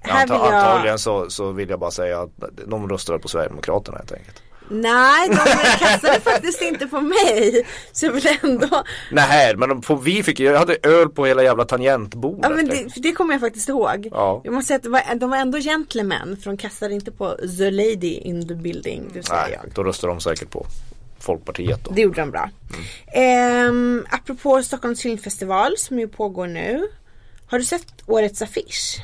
Här Anta- vill jag- Antagligen så, så vill jag bara säga att de röstade på Sverigedemokraterna helt enkelt. Nej, de kastade faktiskt inte på mig. Så jag vill ändå. Nej, men de- på, vi fick, jag hade öl på hela jävla tangentbordet. Äh, Ja, men det, för det kommer jag faktiskt ihåg. Ja. Jag måste säga att det var, de var ändå gentlemen. För de kastade inte på the lady in the building. Det vill säga Nej, jag. då röstar de säkert på Folkpartiet då. Det gjorde de bra. Ehm, apropå Stockholms filmfestival som ju pågår nu. Har du sett årets affisch?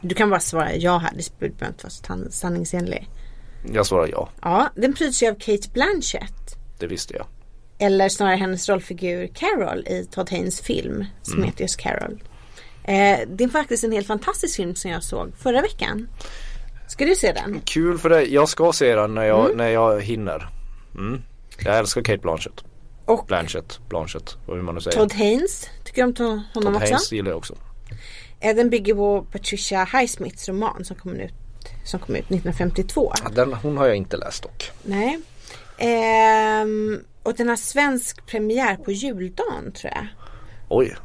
Du kan bara svara ja här, det behöver inte vara så tan- sanningsenlig. Jag svarar ja, Ja, den pryds ju av Kate Blanchett. det visste jag. Eller snarare hennes rollfigur Carol i Todd Haynes film som Mm. heter just Carol. Eh, det är faktiskt en helt fantastisk film som jag såg förra veckan. Ska du se den? Kul för dig, jag ska se den när jag, när jag hinner. Mm. Jag älskar Kate Blanchett. Och Blanchett, Blanchett, vad vill man nu säga? Todd Haynes, tycker du om to- honom Todd också? Haynes gillar jag också. Eh, Den bygger på Patricia Highsmiths roman som kom ut, som kom ut 1952. Ja, Den, hon har jag inte läst dock. Nej. Ehm, och den har svensk premiär på juldagen tror jag. Oj,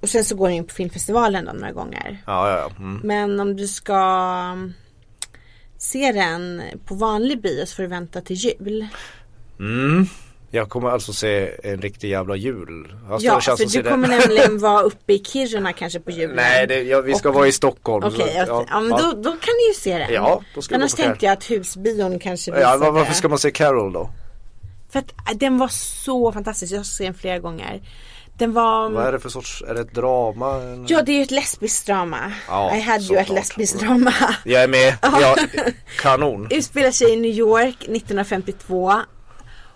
Och sen så går den in på filmfestivalen då några gånger. ja ja ja. Mm. Men om du ska um, se den på vanlig bio så får du vänta till jul. Mm. Jag kommer alltså se en riktig jävla jul. Alltså, Ja, det känns för som se du det- kommer [LAUGHS] nämligen vara uppe i Kiruna kanske på julen. Nej, det, ja, vi ska vara i Stockholm. så- Okej, ja. ja, men då, då kan ni ju se den. Ja, då ska jag Annars gå på Carol. tänkte jag att husbion kanske visade. Ja, var, varför ska man se Carol då? För att äh, den var så fantastisk, jag har sett den flera gånger. Den var... Vad är det för sorts, är det ett drama? En- Ja det är ju ett lesbiskt drama. Ja, I had you ett såklart. lesbiskt drama. Jag är med, ja, [LAUGHS] kanon. Utspelar sig i New York 1952.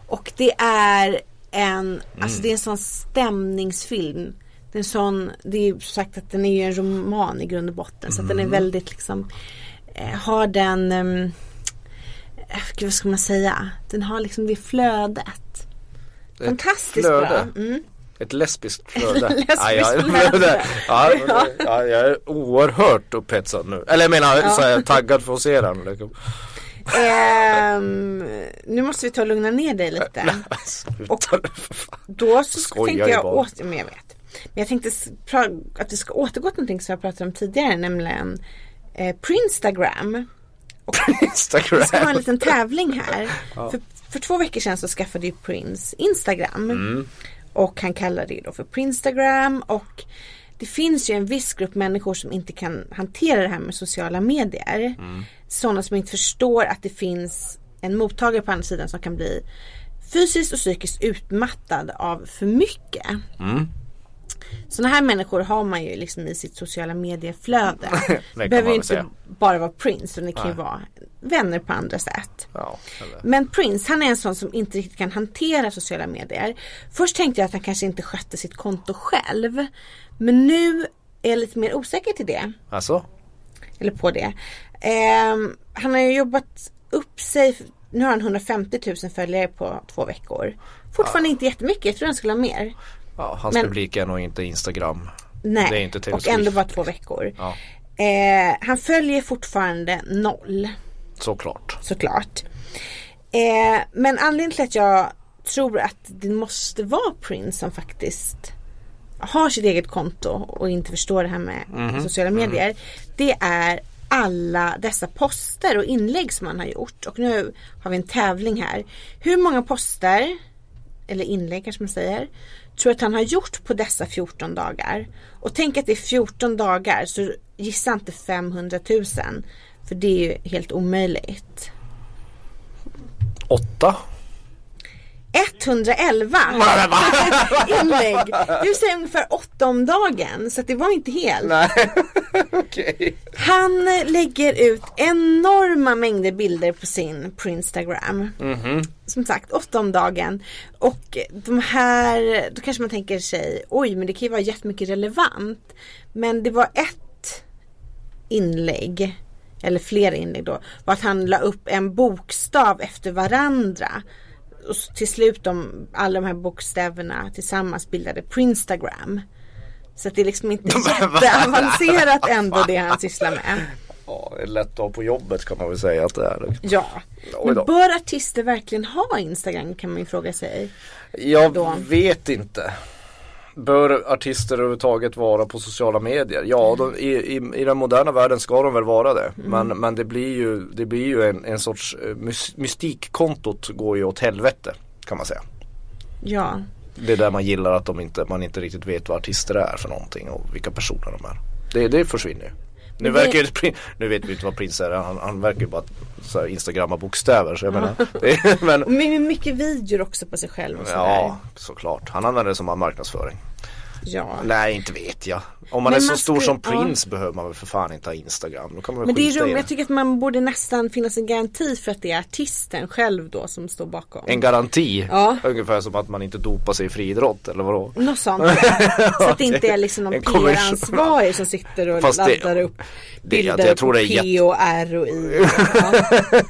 Och det är en, Mm. alltså det är en sån stämningsfilm. Det är en sån, det är ju sagt att den är ju en roman i grund och botten. Så att Mm. den är väldigt liksom, eh, har den, ehm, eh, gud vad ska man säga? Den har liksom det flödet. Fantastiskt flöde. bra. Mm. Ett lesbiskt [LAUGHS] flöde. Lesbiskt Ja, ja, flöde. [LAUGHS] Ja, men- ja, jag är oerhört upphetsad nu. Eller jag menar, så här, taggad för att se den. liksom. Ehm, nu måste vi ta och lugna ner dig [LAUGHS] lite. Och Sluta nu, för fan. då så Skojar tänkte ju jag bara. åter, men jag vet. Men jag tänkte s- pra- att vi ska återgå till någonting som jag pratade om tidigare, nämligen eh, Prinstagram. Och vi ska ha en [LAUGHS] Instagram. liten tävling här. [LAUGHS] För, för två veckor sedan så skaffade ju Prince Instagram. Mm. Och han kallar det ju då för Prinstagram och det finns ju en viss grupp människor som inte kan hantera det här med sociala medier. Mm. Sådana som inte förstår att det finns en mottagare på andra sidan som kan bli fysiskt och psykiskt utmattad av för mycket. Sådana här människor har man ju liksom i sitt sociala [LAUGHS] medieflöde. man det behöver väl ju inte säga. bara vara Prince, utan det kan ju vara vänner på andra sätt. Ja, eller- Men Prince han är en sån som inte riktigt kan hantera sociala medier. Först tänkte jag att han kanske inte skötte sitt konto själv. Men nu är jag lite mer osäker till det. Alltså? Eller på det. Ehm, han har ju jobbat upp sig. Nu har han 150 000 följare på två veckor. Fortfarande inte jättemycket. Jag tror han skulle ha mer. Ja, hans Men- publik är nog inte Instagram. Nej. Det är inte Taylor och ändå Swift. bara två veckor. Ja, Eh, han följer fortfarande noll. såklart. såklart. Eh, men anledningen till att jag tror att det måste vara Prince som faktiskt har sitt eget konto och inte förstår det här med sociala medier. Det är alla dessa poster och inlägg som man har gjort. Och nu har vi en tävling här. Hur många poster, eller inlägg kanske man säger, tror att han har gjort på dessa 14 dagar? Och tänk att det är 14 dagar så gissa inte 500 000. För det är ju helt omöjligt. [LAUGHS] Åtta? 111 inlägg. Du säger ungefär åtta om dagen så att det var inte helt. Okej. Han eh, lägger ut enorma mängder bilder på sin Instagram. Som sagt, åtta om dagen. Och de här, då kanske man tänker sig, oj men det kan ju vara jättemycket relevant. Men det var ett inlägg, eller flera inlägg då, var att han la upp en bokstav efter varandra. Och s- till slut de, alla de här bokstäverna tillsammans bildade Prinstagram. Så att det är liksom inte jätteavancerat ändå det han sysslar med. Ja, en lätt dag på jobbet kan man väl säga att det är. Ja. Oj Men då. bör artister verkligen ha Instagram kan man ju fråga sig. Jag Då. vet inte. Bör artister överhuvudtaget vara på sociala medier? Ja, de, i, i, i den moderna världen ska de väl vara det. Mm. Men, men det blir ju, det blir ju en, en sorts eh, mys- mystikkontot går ju åt helvete kan man säga. Ja. Det är där man gillar att de inte, man inte riktigt vet vad artister är för någonting och vilka personer de är. Det, det försvinner ju. Nu, Men det- verkar ju, Prin- nu vet vi inte vad Prins är, han, han verkar ju bara så här instagramma bokstäver så jag menar. Det, [LAUGHS] men, Och med mycket videor också på sig själv och sådär. Ja, såklart. Han använder det som marknadsföring. ja. Nej, inte vet jag. Om man Men är så man stor som skulle- ja. Prince behöver man väl för fan inte ha Instagram. Då kan man väl Men det är skita i roligt, jag tycker att man borde nästan finnas en garanti för att det är artisten själv då som står bakom. En garanti. Ja. Ungefär som att man inte dopar sig i friidrott eller vadå? Något [LAUGHS] sånt. Så att det inte är liksom någon En kommers- PR-ansvarig som sitter och Fast det- laddar upp det- bilder jag tror på det är P jätte- och R och I. Ja.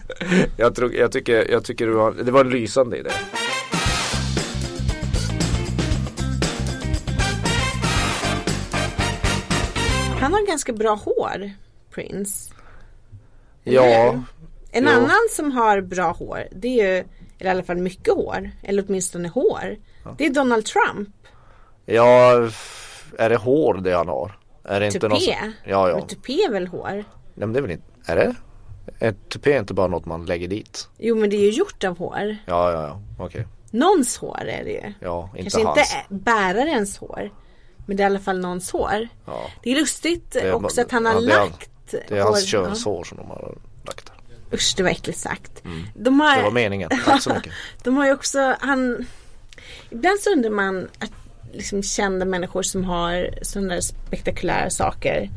Jag, tror, jag tycker, jag tycker det, var, det var en lysande idé. Han har ganska bra hår, Prince. Ja, En Jo. annan som har bra hår, det är ju, eller i alla fall mycket hår, eller åtminstone hår. Det är Donald Trump. ja, f- är det hår det han har? Är det inte någon Tupé. som, Ja, ja. Men Nej, tupé är väl hår? men det är väl inte, är det? Ett tupé är inte bara något man lägger dit. Jo men det är ju gjort av hår. Ja, ja, ja, okej. Någons hår är det ju. Ja, inte Kanske hans. inte bärarens hår. Men det är i alla fall någons hår. Ja. Det är lustigt är- också att han har ja, det är han- lagt Det är hans hår- könshår som de har lagt där. Ja. Usch det var äckligt sagt. De har, Mm. Det var meningen, tack så mycket. [LAUGHS] De har ju också, han Ibland så undrar man att liksom kända människor som har sådana där spektakulära saker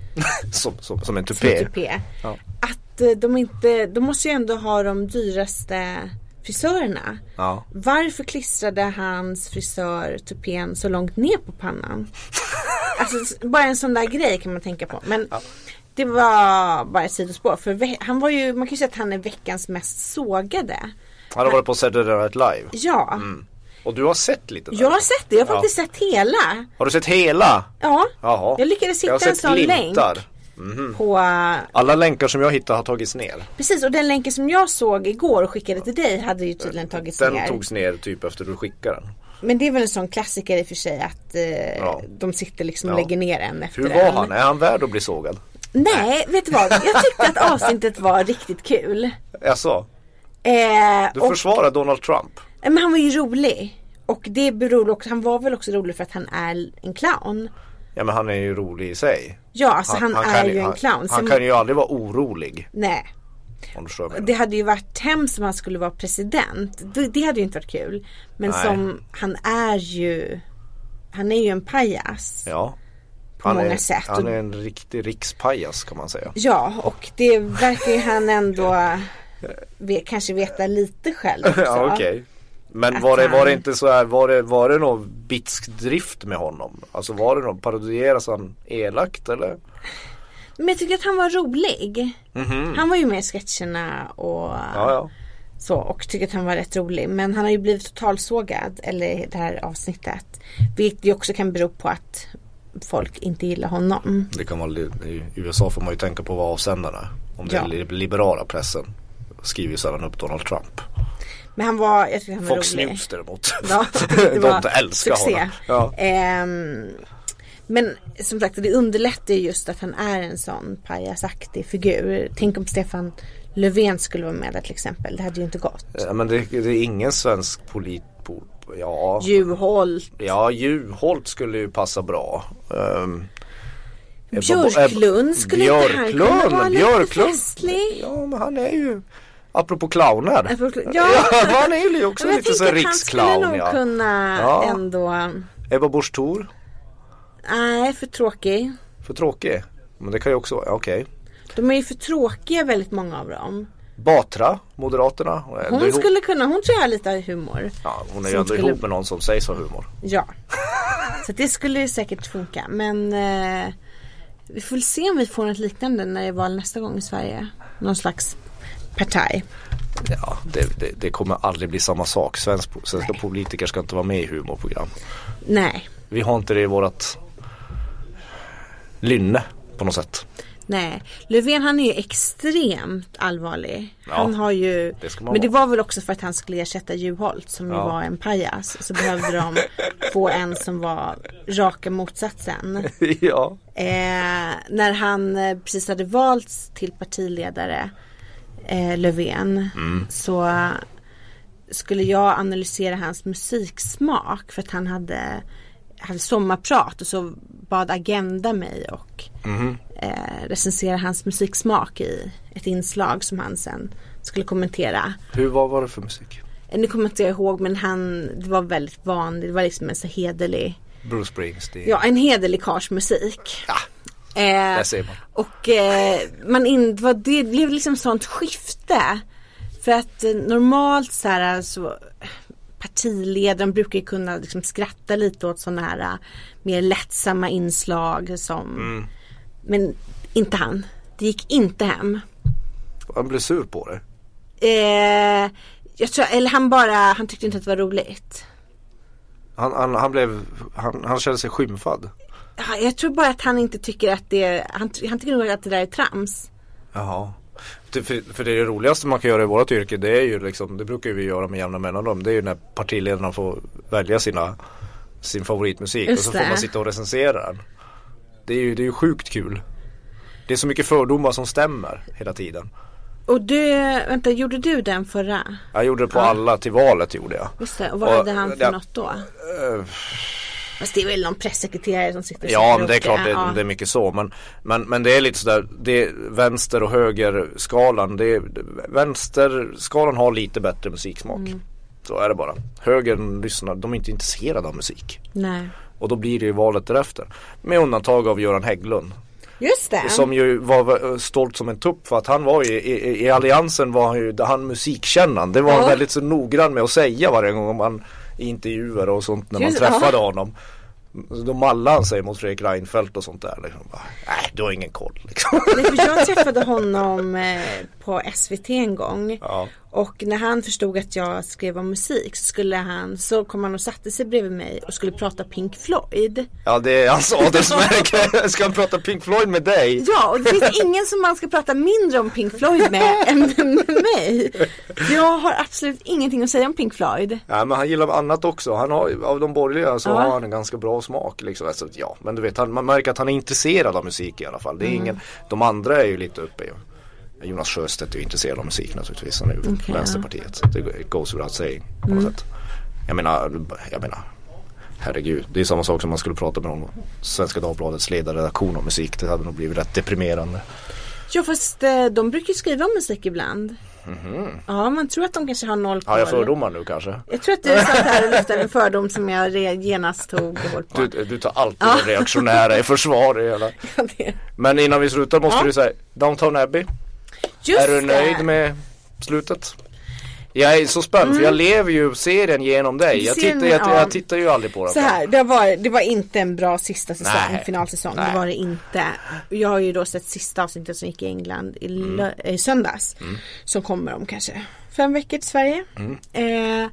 Som, som, som en som tupé. tupé. Ja. Att eh, de inte, de måste ju ändå ha de dyraste frisörerna. Ja. Varför klistrade hans frisör tupén så långt ner på pannan? alltså s- bara en sån där grej kan man tänka på. Men det var bara ett sidospår. För ve- han var ju, man kan ju säga att han är veckans mest sågade. Han har varit på Saturday Night Live. Ja, Och du har sett lite där. jag har sett det. Jag har Mm. Ja. faktiskt sett hela. Har du sett hela? Ja, Jaha. jag lyckades hitta har en sett sån glimtar. länk på Alla länkar som jag hittade har tagits ner. Precis och den länken som jag såg igår och skickade till dig hade ju tydligen tagits Den ner. togs ner typ efter du skickade den. Men det är väl en sån klassiker i och för sig att eh, Ja. de sitter liksom och Ja. lägger ner en efter Hur en. var han? Är han värd att bli sågad? Nej, vet du vad? Jag tyckte att avsnittet var riktigt kul. Jaså? Eh, Alltså, Du och, försvarar Donald Trump? men han var ju rolig. Och det beror också, han var väl också rolig för att han är en clown. Ja men han är ju rolig i sig. Ja, alltså han, är kan ju en clown. Han, så han kan ju aldrig vara orolig. Nej. Om du förstår vad jag Det menar. hade ju varit hemskt om han skulle vara president. Det, det hade ju inte varit kul. Men Nej. som han är ju Han är ju en pajas. Ja. På Han många är, sätt. Han är en riktig rikspajas kan man säga. Ja och det verkar ju han ändå ve, kanske veta lite själv också. [LAUGHS] Ja okej. Men Att var det, var det han- inte så här, var det, var det någon bitsk drift med honom? Alltså var det någon, parodieras han elakt eller? Men jag tycker att han var rolig. Han var ju med i sketcherna och Mhm. Ja ja. så och tycker att han var rätt rolig. Men han har ju blivit totalsågad eller i det här avsnittet. Vilket ju också kan bero på att folk inte gillar honom. Det kan vara, li- I USA får man ju tänka på vad avsändarna är. Om det Ja. är li- liberala pressen skriver ju sällan upp Donald Trump. Men han var, jag tycker han var Fox rolig. News däremot. [LAUGHS] [LAUGHS] Ja, De älskar succé. honom. Ja. Ehm, men som sagt det underlättar ju just att han är en sån pajasaktig figur. Tänk om Stefan Löfven skulle vara med där till exempel. Det hade ju inte gått. Ja, men det, det är ingen svensk polit... po- Ja, Juholt, ja Juholt skulle ju passa bra. Ehm, Ebba Bo- Björklund, skulle inte han kunna Björklund, vara lite Björklund. festlig? Ja men han är ju, apropå clowner. [LAUGHS] Apropå- Ja, ja. han är ju också Men jag lite så tänker här att han skulle riksclown nog ja. kunna Ja. ändå, Ebba Busch Thor, nej för tråkig. för tråkig. Men det kan ju också, ja, okej. De är ju för tråkiga väldigt många av dem. Batra, Moderaterna. Hon, är ändå Hon ihop- skulle kunna, hon tror jag har lite humor. ja, hon är ju som ändå skulle- ihop med någon som sägs ha humor. Ja. Så att det skulle ju säkert funka. Men eh, vi får väl se om vi får något liknande när det är val nästa gång i Sverige. Någon slags partaj. Ja, det, det, det kommer aldrig bli samma sak. Svensk, svenska politiker ska inte vara med i humorprogram. Nej, Vi har inte det i vårat lynne på något sätt. nej. Löfven han är ju extremt allvarlig. Ja, han har ju, det ska man men det vara. var väl också för att han skulle ersätta Juholt som ju Ja. var en pajas. Så behövde de få en som var raka [LAUGHS] motsatsen. ja. Eh, när han eh, precis hade valts till partiledare eh, Löfven så skulle jag analysera hans musiksmak för att han hade, hade sommarprat och så bad Agenda mig och eh, recensera hans musiksmak i ett inslag som han sen skulle kommentera. Hur, vad var det för musik? Eh, Nu kommer inte jag ihåg men han, det var väldigt vanligt, det var liksom en så hederlig Bruce Springsteen. Ja, en hederlig karls musik. Ja, Eh, där ser man. och eh, man in, vad, det blev liksom sånt skifte. För att eh, normalt så här så partiledaren brukar ju kunna liksom skratta lite åt sådana här eh, mer lättsamma inslag som Mm. Men inte han. Det gick inte hem. Han blev sur på det. Eh, jag tror, eller han bara, han tyckte inte att det var roligt. Han, han, han blev, han, han kände sig skymfad. Ja, Jag tror bara att han inte tycker att det, han, ty- han tycker nog att det där är trams. Jaha. Det- För, för det, är det roligaste man kan göra i vårt yrke det är ju liksom, det brukar ju vi göra med jämna mellanrum, det är ju när partiledarna får välja sina, sin favoritmusik Just och så det. får man sitta och recensera den. Det är ju, det är ju sjukt kul. Det är så mycket fördomar som stämmer hela tiden. Och du, vänta, gjorde du den förra? Jag gjorde det på alla till valet gjorde jag. Just det, och vad Och, hade han för ja. något då? Fast det är väl någon pressekreterare som sitter och sätter Ja men det är upp klart det, Alltså, Ja. det är mycket så men, men, men det är lite sådär det, Vänster och högerskalan det, Vänsterskalan har lite bättre musiksmak Så är det bara Högern lyssnar, de är inte intresserade av musik Nej. Och då blir det ju valet därefter Med undantag av Göran Hägglund Just det. Som ju var eh, stolt som en tupp för att han var ju i, i, i alliansen var han ju han musikkännande Det var han Ja. väldigt så noggrann med att säga varje gång man i intervjuer och sånt när man Just- träffade honom Då mallade han sig mot Fredrik Reinfeldt och sånt där liksom. Bara, Nej du har ingen koll liksom. [LAUGHS] Nej, för jag träffade honom eh, på SVT en gång. Ja. Och när han förstod att jag skrev om musik så, skulle han, så kom han och satte sig bredvid mig och skulle prata Pink Floyd. Ja det är hans adelsmärke [LAUGHS] Ska han prata Pink Floyd med dig? Ja, och det finns ingen som man ska prata mindre om Pink Floyd med än med mig. Jag har absolut ingenting att säga om Pink Floyd. Ja men han gillar annat också Han har ju- av de borgerliga så Ja. har han en ganska bra smak liksom. alltså, Ja men du vet han, man märker att han är intresserad av musik i alla fall det är Mm. ingen, De andra är ju lite uppe ju. Jonas Sjöstedt är ju intresserad av musik naturligtvis Han är ju Okej, Mm. Vänsterpartiet Så Det goes without saying på något sätt Jag menar, jag menar Herregud, det är samma sak som man skulle prata med någon Svenska Dagbladets ledarredaktion om musik Det hade nog blivit rätt deprimerande Ja fast eh, de brukar ju skriva om musik ibland. Ja man tror att de kanske har noll koll. Har Mhm. jag fördomar nu kanske? Jag tror att du satt här och lyfte en fördom som jag re- genast tog hål på. Du, du tar alltid det reaktionära i försvar i [LAUGHS] hela. Ja, [LAUGHS] det- Men innan vi slutar måste Ja. du säga Downton Abbey Just Är du det. nöjd med slutet? Jag är så spänd för jag lever ju serien genom dig. Jag Serien, tittar, jag, Mm. ja. jag tittar ju aldrig på den. Så här, det var, det var inte en bra sista säsong, alltså? Nej. finalsäsong. Nej. Det var det inte. Och Jag har ju då sett sista avsnittet som gick i England i, Mm. lö- eh, söndags. Som kommer om kanske fem veckor till Sverige. Mm. Eh,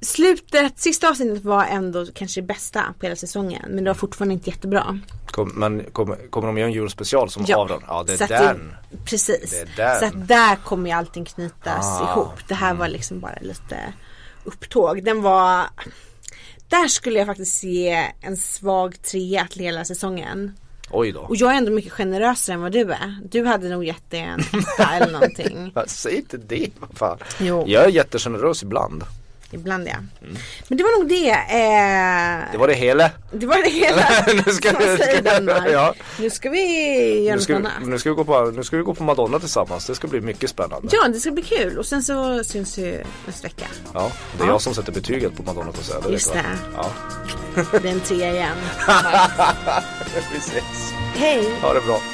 slutet, sista avsnittet var ändå kanske det bästa på hela säsongen. Men det var fortfarande inte jättebra. Kom, men kom, kommer de göra en julspecial som Ja. av den? Ja, det Så är att den. det- precis. Det är den. Ah. Mm. Så att där kommer ju allting knytas ihop. Det här var liksom bara lite upptåg. Den var... Där skulle jag faktiskt ge en svag trea till hela säsongen. Oj då. Och jag är ändå mycket generösare än vad du är. Du hade nog gett det en [LAUGHS] etta eller någonting. Va, Säg inte det. vad Fan. Jo. Jag är jättegenerös ibland. Ibland ja. Mm. Men det var nog det. Eh, Det var det hela. det var det hela. [LAUGHS] Nu ska- som man säger i ska- Danmark. [LAUGHS] ja. Nu ska vi göra Nu något ska, vi- annat. nu, ska vi gå på, nu ska vi gå på Madonna tillsammans. Det ska bli mycket spännande. Ja det ska bli kul och sen så syns vi nästa vecka. Ja, det är jag som sätter betyget på Madonna på Söder. Just vet du va? det. Ja, Det är en trea igen. precis. Hej! Ha det bra.